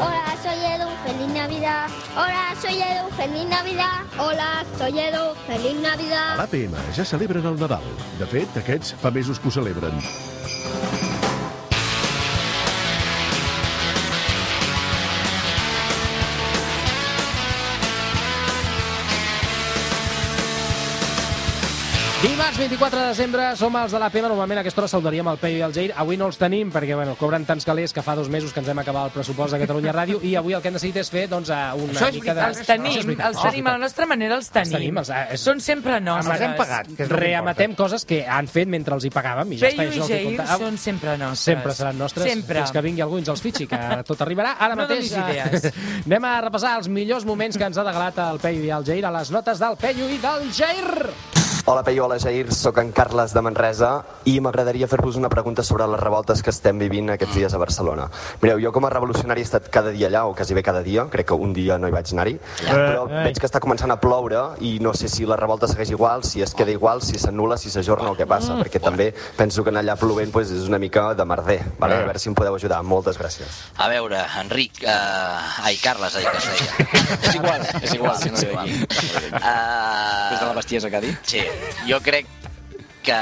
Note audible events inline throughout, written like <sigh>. Hola, soy Edu, feliz Navidad. Hola, soy Edu, feliz Navidad. Hola, soy Edu, feliz A Navidad. l'APM ja celebren el Nadal. De fet, aquests fa mesos que ho celebren. Dimarts 24 de desembre som els de l'APM. Normalment a aquesta hora saludaríem el Peyu i el Jair. Avui no els tenim perquè bueno, cobren tants calés que fa dos mesos que ens hem acabat el pressupost de Catalunya Ràdio i avui el que hem decidit és fer doncs, eh, una Això és mica de... veritat, els tenim, Això és veritat, els això és tenim, a la veritat. nostra manera els Ah, tenim. tenim, els- eh, és- Són sempre nostres. Els hem pagat, que és el que Reamatem coses que han fet mentre els hi pagàvem i ja està. Peyu això i és el que Jair compta. Ah, són sempre nostres. Sempre seran nostres, Sempre. fins que vingui algú i ens els fitxi, que tot arribarà. Ara No mateix donis eh, <laughs> idees. anem a repassar els millors moments que ens ha regalat el Peyu i el Jair a les notes del Peyu i del Jair. Hola Peyu, hola Jair, sóc en Carles de Manresa i m'agradaria fer-vos una pregunta sobre les revoltes que estem vivint aquests dies a Barcelona. Mireu, jo com a revolucionari he estat cada dia allà, o quasi bé cada dia, crec que un dia no hi vaig anar-hi, però veig que està començant a ploure i no sé si la revolta segueix igual, si es queda igual, si s'anula, si s'ajorna o què passa, perquè també penso que anar allà plovent doncs, és una mica de merder. Vale? A veure si em podeu ajudar. Moltes gràcies. A veure, Enric... Uh, ai, Carles, ai, que es deia. <laughs> és igual, és igual. Sí, no és igual. Uh, és de la bestiesa que ha <laughs> dit. Sí, jo crec que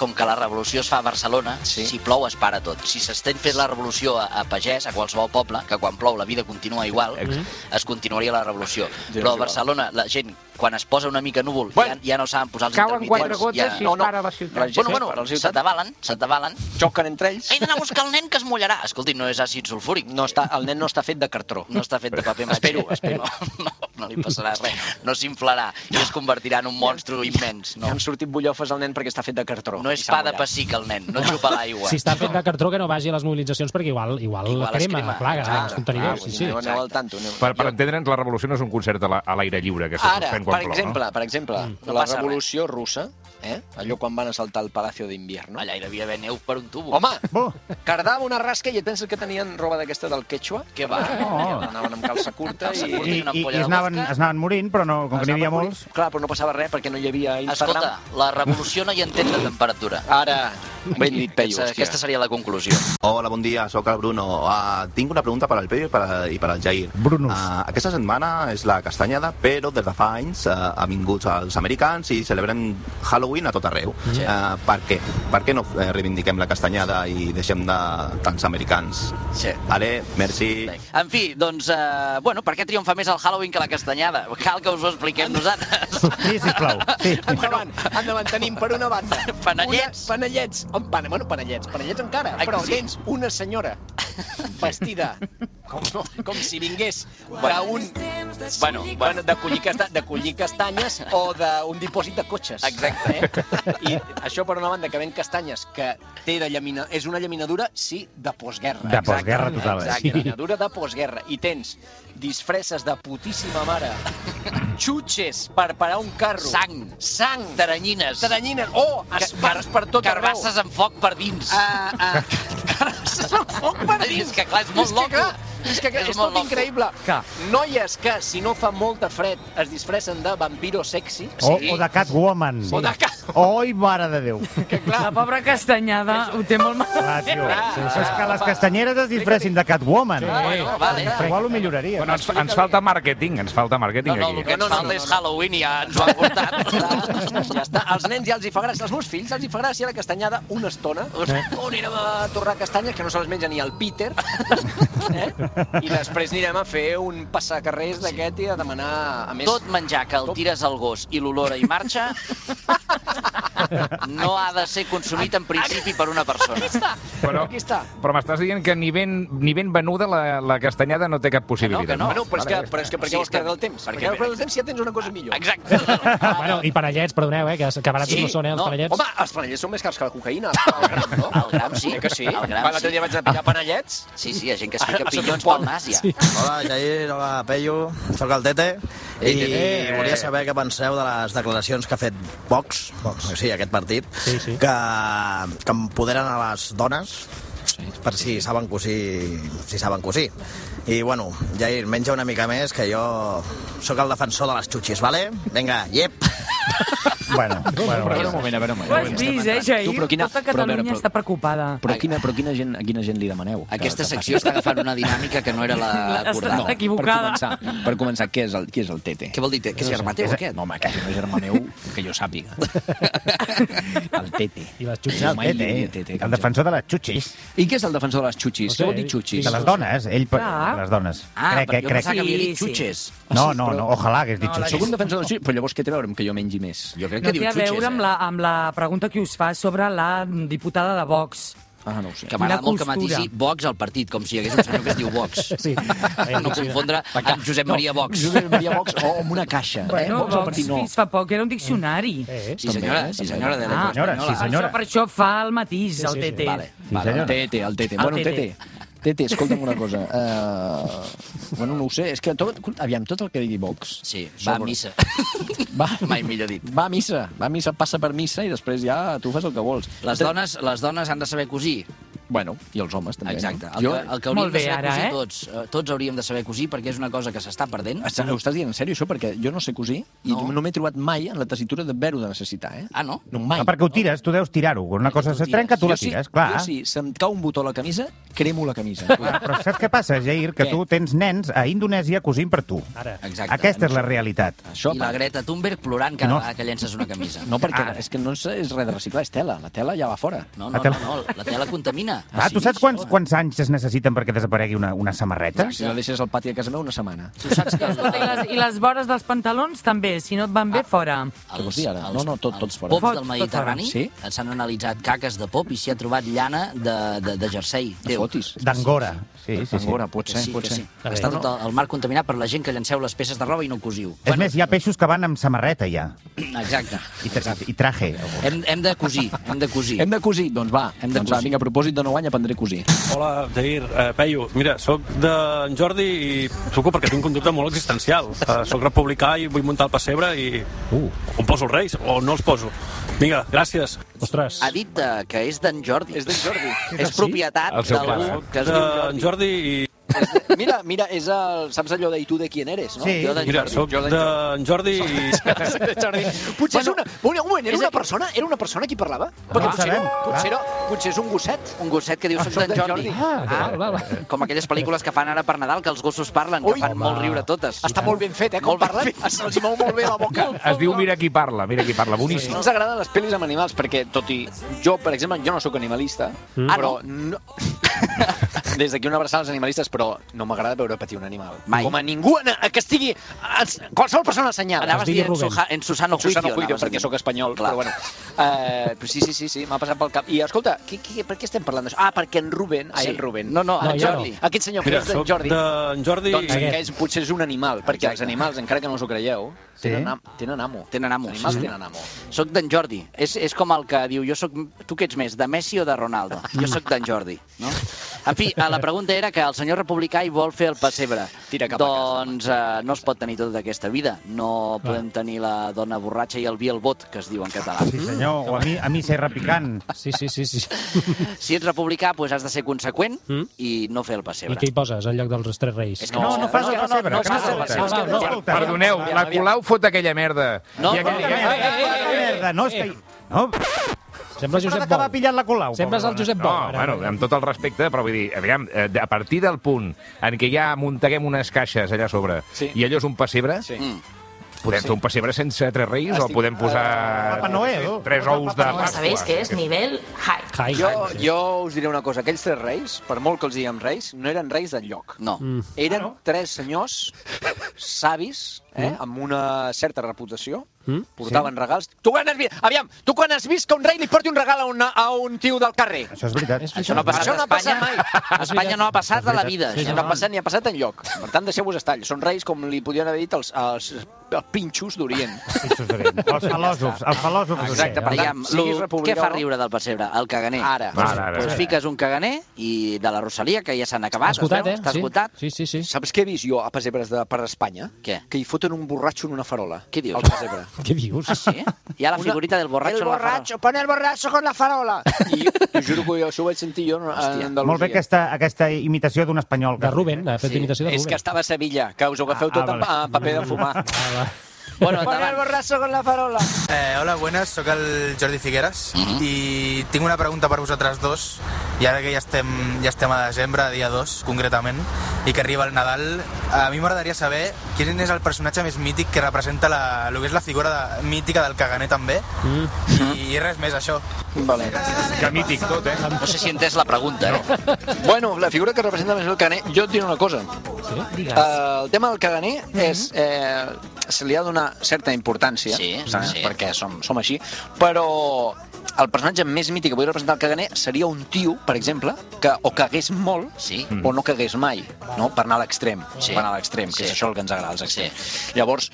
com que la revolució es fa a Barcelona, sí. si plou es para tot. Si s'estén fent la revolució a, a Pagès, a qualsevol poble, que quan plou la vida continua igual, es continuaria la revolució. Però a Barcelona la gent, quan es posa una mica núvol, ja, ja no saben posar els Cauen quatre intermitents, gotes i ja... es para la ciutat. Bueno, bueno, se t'avalen, se t'avalen. xoquen entre ells. He d'anar a buscar el nen que es mullarà. Escolti, no és àcid sulfúric. No està, el nen no està fet de cartró. No està fet de paper maché. Espero, espero. No, no, no li passarà res. No s'inflarà i es convertirà en un monstru immens. No. No, Han sortit bullofes al nen perquè està fet de cartró. no és I s'ha pa de mullat. pessic el nen, no xupa l'aigua. Si està fet de cartró, que no vagi a les mobilitzacions, perquè igual, igual, Igual igual es crema, crema. crema, plaga, Clar, ah, els contenidors. clar, sí, vull sí. dir, Aneu, aneu al tanto. Aneu. Per, per entendre'ns, la revolució no és un concert a la- a l'aire lliure, que se Ara, suspèn per quan plou, exemple, no? per exemple, No la passa res. revolució russa, eh? allò quan van assaltar el Palacio d'Invierno. Allà hi devia haver neu per un tubo. Home, cardava una rasca i et penses que tenien roba d'aquesta del quechua? Què va? Oh. Anaven amb calça curta Calça i... curta. I, una i, i ampolla de es, anaven, vodka. es anaven morint, però no, com que n'hi havia Anaven molts... curts. Clar, però no passava res perquè no hi havia Instagram. Escolta, la revolució no hi entén de temperatura. Ara, ben dit, Peyu, Aquesta, aquesta hòstia. seria la conclusió. Hola, bon dia, sóc el Bruno. Uh, tinc una pregunta per al Peyu i per, i per al Jair. Brunus. Uh, aquesta setmana és la castanyada, però des de fa anys uh, han vingut els americans i celebren Halloween a tot arreu. Sí. Uh, per què? Per què no eh, reivindiquem la castanyada i deixem de tants americans? Sí. Vale, merci. En fi, doncs, eh, bueno, per què triomfa més el Halloween que la castanyada? Cal que us ho expliquem nosaltres. Sí, sisplau. Sí. Endavant, endavant, tenim per una banda... <laughs> Panellets. Una, panellets, amb pan, bueno, panellets, panellets encara, Ai, però sí. tens una senyora vestida com, com si vingués d'un... Bueno, Bueno, de collir, casta, de collir castanyes o d'un dipòsit de cotxes. Exacte. Eh? I això per una banda que ven castanyes, que té de llamina... és una llaminadura, sí, de postguerra. De postguerra total, eh? Exacte, sí. llaminadura de postguerra. I tens disfresses de putíssima <laughs> mare, xutxes per parar un carro, Sang. sang, Taranyines. Taranyines, oh, espars per tot tota arreu. Carbasses amb foc per dins. Ah, ah, carbasses amb foc per És dins. que, clar, és molt és loco. Que, clar, és que, és, És és molt tot loco. increïble. Clar. Noies que, si no fa molta fred, es disfressen de vampiro sexy. O, o de Catwoman. O de cat- Oi, mare de <laughs> Déu. Que, La clar, pobra castanyada ho té molt mal. Clar, tio. Ah, Sí, sí, és que sí. les castanyeres es disfressin de Catwoman. bueno, Eh, vale. Igual ho milloraria. Bueno, ens, ens falta màrqueting, ens falta màrqueting No, no, el aquí. que ens No, no, falta no, és no. Halloween i ja ens ho han portat. <laughs> ja està. Als nens ja els hi fa gràcia, als meus fills els hi fa gràcia la castanyada una estona. Oh, anirem a torrar castanyes, que no se les menja ni el <laughs> Peter. Eh? I després anirem a fer un passacarrers d'aquest i a demanar... A més, Tot menjar que el tires al gos i l'olora i <laughs> marxa no ha de ser consumit en principi per una persona. Però, Aquí està. però m'estàs dient que ni ben, ni ben venuda la, la castanyada no té cap possibilitat. que no. Bueno, però és que, però és que per Sí, què vols és que- perdre el temps? perquè- Perquè vols perdre el temps si ja tens una cosa millor. <laughs> Exacte. Bueno, i panellets, perdoneu, eh, que, que barats Sí, no són, eh, els no, panellets. Home, els panellets són més cars que la cocaïna. El gram, <laughs> no? El gram sí. Eh que sí? El gram Va, L'altre sí. dia vaig a pillar panellets. Sí, sí, hi ha gent que es fica Sota un pinyons pont. pel nas, ja. Sí. Hola, Jair, hola, Peyu, sóc el Tete i Tete. volia saber què penseu de les declaracions que ha fet Vox, Vox. sí, aquest partit, Sí, sí. Que, que empoderen a les dones per si saben cosir, si saben cosir. I, bueno, Jair, menja una mica més, que jo sóc el defensor de les xutxis, vale? Vinga, yep! Bueno, bueno, A veure bueno. un moment, a veure un Ho has moment. vist, eh, Jair? Tu, però quina- Tota però, a veure, Catalunya però- està preocupada. Però quina, però quina gent, a quina gent li demaneu? que- Aquesta que secció està agafant una dinàmica que no era la Està acordada. No, equivocada. Per començar, per començar què, és el, qui és el Tete? Què vol dir? Que és germà teu, aquest? No, home, que si no és germà meu, que jo sàpiga. El Tete. I les xutxes. El Mai li Tete, eh? eh, diria Tete, el defensor de les xutxis, I què és el defensor de les xutxis? No sé, Què vol dir xutxis? de les dones, ell per Clar. les dones. Ah, crec, però eh, jo crec. pensava que havia Sí, dit sí. xutxes. No, no, no, ojalà hagués dit No, la xutxis. Sóc un defensor de les xutxes, però llavors què té a veure amb que jo mengi més? Jo crec No que té diu a xutxes, veure amb eh? la, amb la pregunta que us fa sobre la diputada de Vox. Ah, no ho sé. Que m'agrada Quina molt que costura. matisi Vox al partit, com si hi hagués un senyor que es diu Vox. Sí. No confondre amb Josep Maria Vox. Josep Maria Vox o amb una caixa. Bueno, Vox al Eh, Vox partit no. fins fa poc era un diccionari. Eh, Sí, senyora, sí, senyora de la Ah, Costa. Senyora, sí, senyora. Això per això fa el matís, sí, el sí. TT. Vale, Sí, vale, senyora. el Tete, el Tete. El bueno, Tete. Tete. Tete, escolta'm una cosa. Uh, bueno, no ho sé, és que tot, aviam, tot el que digui Vox. Sí, va a sobre- missa. Va, Mai millor dit. va a missa, va a missa, passa per missa i després ja tu fas el que vols. Les dones, les dones han de saber cosir. Bueno, i els homes també. Exacte. No? El Jo, que, el que Molt hauríem bé, de saber ara, cosir eh? tots. eh, Tots hauríem de saber cosir perquè és una cosa que s'està perdent. Està- Ho estàs dient en sèrio, això? Perquè jo no sé cosir i No. no, no m'he trobat mai en la tessitura d'haver-ho de necessitar, eh? Ah, no? No, mai. Ah, perquè ho tires, tu deus tirar-ho. Quan una cosa Tu se tires. trenca, tu la Jo sí- tires, clar. Jo sí, se'm cau un botó a la camisa, cremo la camisa. Ah, Però saps què passa, Jair? Que Què? tu tens nens a Indonèsia cosint per tu. Ara. Exacte. Aquesta és la realitat. Això, I la per- Greta Thunberg plorant cada No. vegada que llences una camisa. no, perquè és que no és, és res de reciclar, és tela. La tela ja va fora. No, La no, no, tela- no, la tela contamina. Ah, tu saps quants, quants anys es necessiten perquè desaparegui una, una Ah, samarreta? Si la deixes al pati de casa meva una setmana. Tu saps <laughs> que... Escolta, I les, I les vores dels pantalons també, si no et van bé, fora. Ah, Què vols dir ara? No, no, tot- tots fora. pops Tot- del tot Mediterrani eh, fora. Sí? s'han analitzat caques de pop i s'hi ha trobat llana de, de, de jersei. No Déu. fotis. D'Angora. Sí, sí, sí. Angora, pot ser, Que sí, pot que ser. sí. Està tot el, el mar contaminat per la gent que llanceu les peces de roba i no cosiu. És més, hi ha peixos que van amb samarreta, ja. Exacte. I, tra i traje. Hem, hem de cosir, hem de cosir. Hem de cosir? Doncs va, hem Hem de de doncs va, cosir. vinga, a propòsit de nou any aprendré a cosir. Hola, Jair, eh, Peyu. Mira, sóc d'en Jordi i truco perquè tinc un dubte molt existencial. Eh, sóc republicà i vull muntar el pessebre i... Uh. On poso els reis o no els poso? Vinga, gràcies. Ostres. Ha dit eh, que és d'en Jordi. És d'en Jordi. És propietat El seu d'algú pare. que es diu D'en Jordi. Jordi i... <laughs> Mira, mira, és el... Saps allò de i tu de quién eres, no? Sí. Jo d'en Mira, Jordi, sóc jo d'en Jordi. d'en <laughs> Jordi i... Jordi. Potser és una... Bueno, un moment, era una persona, era una persona qui parlava? Ah, Perquè ho potser, sabem, no, clar. potser, no, potser és un gosset. Un gosset que diu soc d'en Jordi. Ah, val, val, val. Com aquelles pel·lícules que fan ara per Nadal, que els gossos parlen, Ui, que fan molt riure totes. Està molt ben fet, eh, com Molt ben parlen. Se'ls mou molt bé la boca. Es diu Mira qui parla, Mira qui parla, boníssim. Sí. No ens agraden les pel·lis amb animals perquè, tot i... Jo, per exemple, jo no sóc animalista, mm. però... No... <laughs> Des d'aquí una abraçada als animalistes, però no m'agrada veure patir un animal. Mai. Com a ningú en- que estigui... ens- Qualsevol persona assenyada. Anaves Es digui dient Rubén. Suja- en Susano Juicio. Susana Juicio, anaves a perquè dir. sóc espanyol, Clar. Clar. però bueno. Eh, però sí, sí, sí, sí m'ha passat pel cap. I escolta, qui, qui, per què estem parlant d'això? Ah, perquè en Ruben... Ai, Sí. en Ruben. No, no, no, en ja Jordi. Aquest senyor que Mira, és d'en sóc Jordi. d'en Jordi Doncs i... Aquest. que és, potser és un animal, perquè els animals, encara que no us ho creieu, Sí. tenen, am tenen amo. Tenen amo, Els animals sí. tenen amo. Soc d'en Jordi. És, és com el que diu, jo soc, tu què ets més, de Messi o de Ronaldo? Jo sóc d'en Jordi. No? En fi, eh, la pregunta era que el senyor republicà hi vol fer el pessebre. Tira cap a casa, doncs eh, no es pot tenir tota aquesta vida. No podem tenir la dona borratxa i el vi al bot, que es diu en català. Ah, Sí, senyor, o a mi, a mi ser repicant. Sí, sí, sí, sí. Si ets republicà, doncs has de ser conseqüent i no fer el I pessebre. què hi poses en lloc dels tres reis? És que Mm. No, no fas el pessebre. no, que no, m'escolta. no, no, no, Escolta, Perdoneu, la Colau fot aquella merda. No, I aquell- no, eh, eh, eh, Quina merda, no, és que... No, Sembla s'ha Josep d'acabar Bou. pillant la Colau. Sempre és el pobra Josep No, Bou. ara. bueno, amb tot el respecte, però vull dir, aviam, eh, a partir del punt en què ja muntaguem unes caixes allà a sobre Sí. i allò és un pessebre, Sí. Mm. podem fer un pessebre sense tres reis Estic- o podem eh, posar Papa Noel. tres ous de Pasqua. nivel high. Hi, hi, Jo, sí. jo us diré una cosa, aquells tres reis, per molt que els diguem reis, no eren reis del lloc. Mm. No. Eren tres senyors savis, Mm. eh, amb una certa reputació, portaven regals. Tu quan has vist, aviam, tu quan has vist que un rei li porti un regal a, una, a un tio del carrer? Això és veritat. Això no ha passat Això no a ha passat Espanya. <laughs> A Espanya no ha passat de la vida. Això no ha passat ni ha passat en lloc. Per tant, deixeu-vos estar. Són reis com li podien haver dit els, els, els pinxos d'Orient. Els filòsofs, els filòsofs. Exacte, per per Diguem, tant, siguis lo, què republicà fa o no. riure del pessebre? El caganer. Ara. Ara, ara, Doncs ara. fiques un caganer i de la Rosalia, que ja s'han acabat. es esgotat, veu, eh? Està Sí. esgotat. Sí, sí, sí. Saps què he vist jo a pessebres de, per Espanya? Què? Que hi foten un borratxo en una farola. <laughs> Què dius? Al pessebre. Ah, Què dius? Sí? Hi ha la figurita del borratxo. el en la farola. borratxo, pon el borratxo con <laughs> la farola. I t'ho juro que jo, això ho vaig sentir jo a Andalusia. Molt bé aquesta, aquesta imitació d'un espanyol. De Rubén, ha fet Sí. imitació de És que Rubén. estava a Sevilla, que us ho agafeu Ah, tot ah, en pa- vale. en paper de fumar. Ah, va. Bueno, Pon el borrasso con la farola. Eh, hola, buenas, sóc el Jordi Figueres Mhm. i tinc una pregunta per vosaltres dos i ara que ja estem, ja estem a desembre, dia 2 concretament, i que arriba el Nadal a mi m'agradaria saber quin és el personatge més mític que representa la, el que és la figura de, mítica del caganer també i, i res més, això Vale. Que mític tot, eh? No sé si he entès la pregunta, eh? Bueno, la figura que representa més el caganer, jo et diré una cosa. Sí? el tema del caganer és... Eh, se li ha de donar certa importància, eh, Sí, sí. perquè som, som així, però el personatge més mític que podria representar el caganer seria un tio, per exemple, que o cagués molt sí. o no cagués mai, no? per anar a l'extrem, Sí. sí. per anar a l'extrem, que Sí. és això el que ens agrada, els extrems. Sí. Llavors,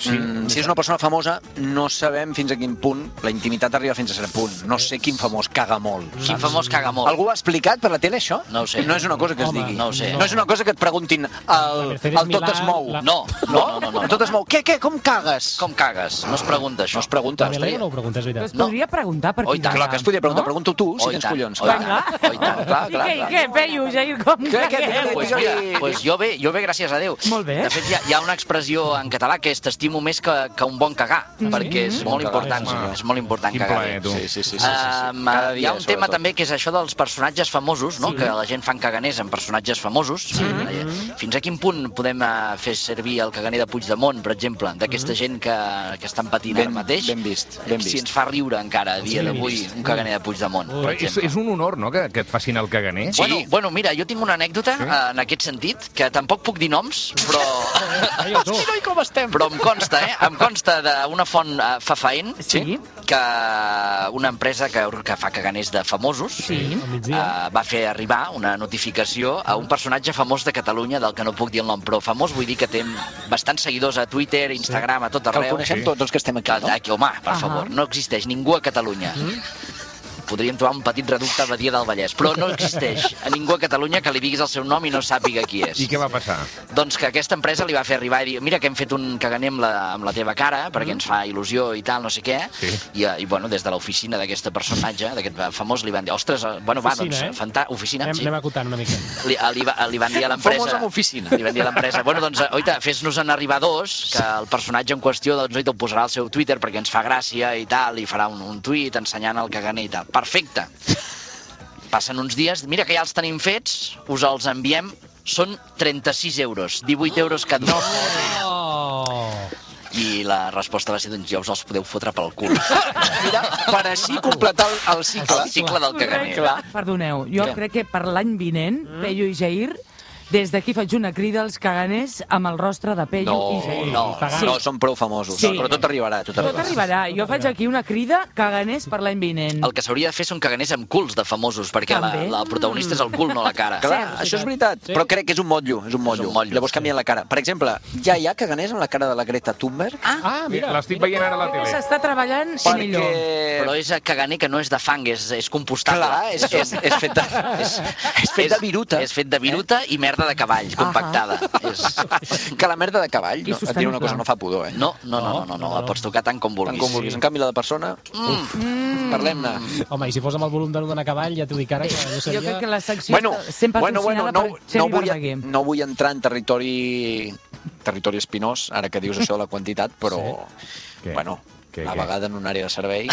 Sí. Mm, si és una persona famosa, no sabem fins a quin punt la intimitat arriba fins a cert punt. No sé quin famós caga molt. Quin famós caga molt? Algú ho ha explicat per la tele, això? No ho sé. No és una cosa que es Home, digui. no ho sé. No és una cosa que et preguntin al, Mercedes al tot es Milà, mou. la- No. No, no, no, no, no. Tot es mou. Què, què, com cagues? Com cagues? No es pregunta, això. No es pregunta. La Milena no ho pregunta, és Però veritat. es podria preguntar per Oi, quin tant. Clar que es podria preguntar. Pregunto tu, si Oi, tens tant, collons. oi, Clar. tant, oi, tant. I Clar, clar, què, clar. i què, Peyu, Jair, com Què, què, cagueu? Pues mira, pues jo bé, jo bé, gràcies a Déu. Molt bé. De fet, hi ha, hi ha una expressió en català que és t'estimo més que, que un bon cagar, Mm. perquè Mm. és molt Bon cagar, important, sí. és molt important Quin cagar plaer, bé. tu. Sí, sí, sí, sí, sí, sí. Um, Cada hi ha dia, un tema sobretot. també que és això dels personatges famosos, no? Sí. que la gent fan caganers en personatges famosos. Eh, Fins a quin punt podem eh, fer servir el caganer de Puigdemont, per exemple, d'aquesta gent que, que estan patint Mm-hmm. Ben- ara mateix? ben vist, ben Si vist. Mm. ens fa riure encara a dia Sí, ben d'avui vist. un caganer de Puigdemont, per Però és, exemple. és un honor, no?, que, que et facin el caganer. Sí. Bueno, bueno, mira, jo tinc una anècdota sí? en aquest sentit, que tampoc puc dir noms, <laughs> però... Hosti, noi, com estem? Però em consta, eh? Em consta d'una font uh, fafaent, sí? que una empresa que, que fa caganers de famosos sí. uh, va fer arribar una notificació a un personatge famós de Catalunya, del que no puc dir el nom, però famós vull dir que té bastants seguidors a Twitter, Instagram, a tot Que el arreu. coneixem Sí. tots els que estem aquí, no? Aquí, home, per Ahà. favor, no existeix ningú a Catalunya Mm. podríem trobar un petit reducte a Badia del Vallès, però no existeix a ningú a Catalunya que li diguis el seu nom i no sàpiga qui és. I què va passar? Doncs que aquesta empresa li va fer arribar i dir mira que hem fet un caganer amb la, amb la teva cara perquè ens fa il·lusió i tal, no sé què. Sí. I, eh, i bueno, des de l'oficina d'aquest personatge, d'aquest famós, li van dir ostres, eh, bueno, va, Oficina, doncs, eh? fanta oficina, Anem, sí. anem acotant una mica. Li, eh, li, va, eh, li van dir a l'empresa... Famós amb oficina. Li van dir a l'empresa, bueno, doncs, eh, oita, fes-nos en arribar dos, que el personatge en qüestió, doncs, oita, ho posarà al seu Twitter perquè ens fa gràcia i tal, i farà un, un tuit ensenyant el caganer i tal. Perfecte. Passen uns dies, mira que ja els tenim fets, us els enviem, són 36 euros, 18 euros cada no. I la resposta va ser, doncs ja us els podeu fotre pel cul. Mira, per així completar el, el cicle. El cicle del caganer. Clar. Mm. Perdoneu, jo Què? crec que per l'any vinent, Peyu i Jair, des d'aquí faig una crida als caganers amb el rostre de Peyu No, i Oh, Jair. no, Sí. no, són prou famosos. eh, Sí. Però tot arribarà, tot Tot arribarà. arribarà. Jo faig aquí una crida caganers per l'any vinent. El que s'hauria de fer són caganers amb culs de famosos, perquè la, També. la protagonista és el cul, no la cara. Clar, això és veritat, però crec que és un motllo, és un motllo. Llavors canvien la cara. Per exemple, ja hi ha caganers amb la cara de la Greta Thunberg? Ah, mira, L'estic veient ara a la tele. S'està treballant en perquè... ello. Però és el caganer que no és de fang, és, és compostable. Clar, és, és, és fet de... és, és fet de viruta. És fet de viruta i merda de cavall, compactada. És... <laughs> Que la merda de cavall, I no, et diré una cosa, sostenible. no fa pudor, eh? No, no, no, no, no, no, la pots tocar tant com vulguis. Tant com vulguis. En canvi, la de persona... Mm. Parlem-ne. Home, i si fos amb el volum d'anar a cavall, ja t'ho dic ara, que jo seria... Jo crec que la secció Bueno, està sent bueno, bueno, patrocinada no, per no, Xavi vull, Verdaguer. no vull entrar en territori territori espinós, ara que dius això de la quantitat, però, sí. bueno, Què, a què? vegada en un àrea de <laughs> servei...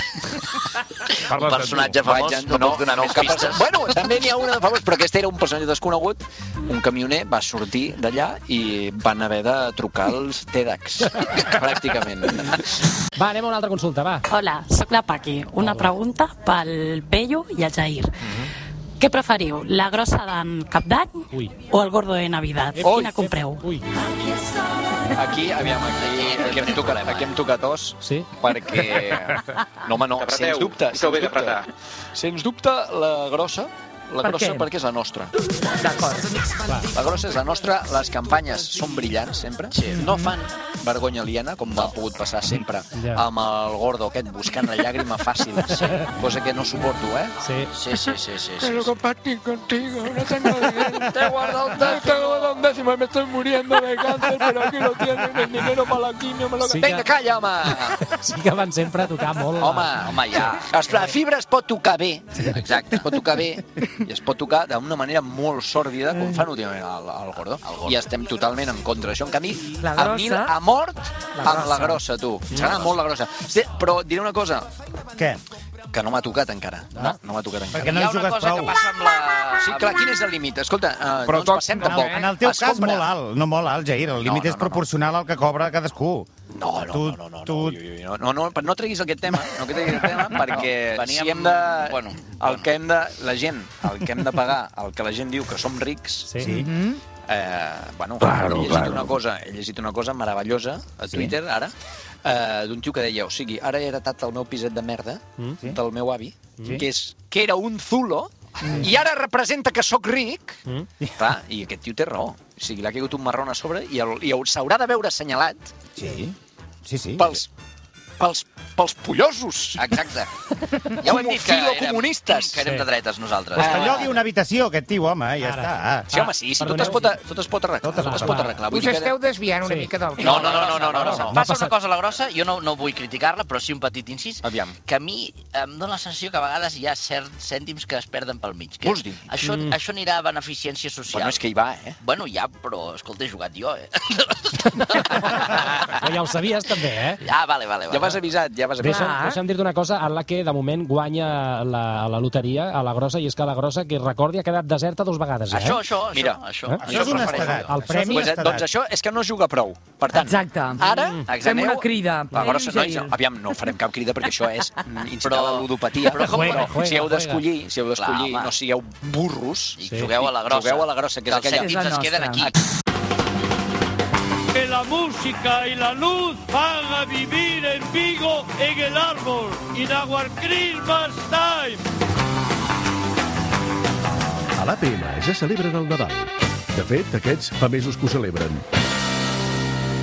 Parles de tu. personatge famós, Vaig en- no, puc donar més cap- pistes. Bueno, també n'hi ha una de famós, però aquest era un personatge desconegut. Un camioner va sortir d'allà i van haver de trucar els TEDx, <laughs> pràcticament. Va, anem a una altra consulta, va. Hola, sóc la Paqui. Una pregunta pel Pello i el Jair. Mhm. Què preferiu, la grossa d'en Cap d'Any Ui. o el gordo de Navidad? Ep, Quina ep, compreu? Ui. Aquí, aviam, aquí, aquí hem tocat, aquí hem tocat os, sí? perquè... No, home, no, sens dubte. Sens dubte, sens dubte la grossa, la Per grossa què? perquè és la nostra. D'acord. La grossa és la nostra, les campanyes són brillants sempre, sí. no fan vergonya aliena, com m'ha pogut passar sempre Ja. amb el gordo aquest buscant la llàgrima fàcil, cosa que no suporto, eh? Sí. Sí, sí, sí, sí. sí. <laughs> compartir contigo, no tengo dinero. Te he guardado un décimo. Te he guardado un décimo. me estoy muriendo de cáncer, pero aquí lo tienen, el dinero para la quimio, me lo... Sí que- Venga, calla, home! Sí que van sempre a tocar molt. Home, home, ja. Els pla- fibra es pot tocar bé. Exacte, es pot tocar bé i es pot tocar d'una manera molt sòrdida, com fan últimament al, al gordo. I estem totalment en contra d'això. En canvi, La a mi grossa. a mort La amb la grossa. grossa, tu. Serà molt la grossa. Sí, però diré una cosa. Què? Que no m'ha tocat encara. No, no m'ha tocat encara. Perquè no hi Hi ha una jugues cosa prou. Que passa amb la... Sí, clar, quin és el límit? Escolta, eh, no ens passem no, tampoc. eh? En el teu cas, Escolta, molt alt. No molt alt, Jair. El límit no, és proporcional al que cobra cadascú. No, no, tu, no, no, tu... no, no, no, no treguis aquest tema, no que treguis aquest tema, perquè veníem- si hem de... Bueno, el que hem de... La gent, el que hem de pagar, el que la gent diu que som rics... Sí. Mhm. Eh, bueno, claro, he, llegit una cosa, he llegit una cosa meravellosa a Sí. Twitter, ara, eh, d'un tio que deia, o sigui, ara he heretat el meu piset de merda Mm. Sí. del meu avi, Sí. que, és, que era un zulo, i ara representa que sóc ric, Clar, i aquest tio té raó. O sigui, l'ha caigut un marrón a sobre i, el- i el- s'haurà de veure assenyalat sí. Sí, sí. pels, pels, pels pollosos. Exacte. <laughs> Ja ho hem dit que érem- comunistes. que érem de dretes nosaltres. Pues que llogui una habitació, aquest tio, home, i ja Ara. està. Ah. Sí, home, sí, sí, tot es pot, tot es pot arreglar. Tot es pot arreglar. Vull Us dir que- esteu desviant una mica del... No, no, no, no, no, no, no. no. Passa una cosa a la grossa, jo no, no vull criticar-la, però sí un petit incís, Aviam. que a mi em dóna la sensació que a vegades hi ha certs cèntims que es perden pel mig. Que Vols dir? Això, Mm. mm. això anirà a beneficència social. Bueno, és que hi va, eh? Bueno, ja, però, escolta, he jugat jo, eh? <laughs> Però ja ho sabies, també, eh? Ah, vale, vale. vale. Ja vas avisat, ja vas avisat. Deixa'm, deixa'm dir-te una cosa en la que de moment guanya la, la loteria a la grossa i és que la grossa, que recordi, ha quedat deserta dos vegades. Eh? Això, això, això. Mira, això, Eh? Això és honestedat. prefereixo. El premi Doncs, honestedat. Doncs això és que no es juga prou. Per tant, Exacte. Ara, Mm. exaneu- Fem una crida. Va, Pere grossa, nois, Jair. no, aviam, no farem cap crida perquè això <laughs> és mm, incitar però, la ludopatia. Però com- Juega, juega, si heu d'escollir, juega. si heu d'escollir, Clar, home. no sigueu burros. I jugueu a la grossa. Jugueu a la grossa, que és Els aquella... cèntims es queden aquí. Que la música y la luz haga vivir en Vigo en el árbol. In our Christmas time. A l'APM ja celebren el Nadal. De fet, aquests fa mesos que ho celebren.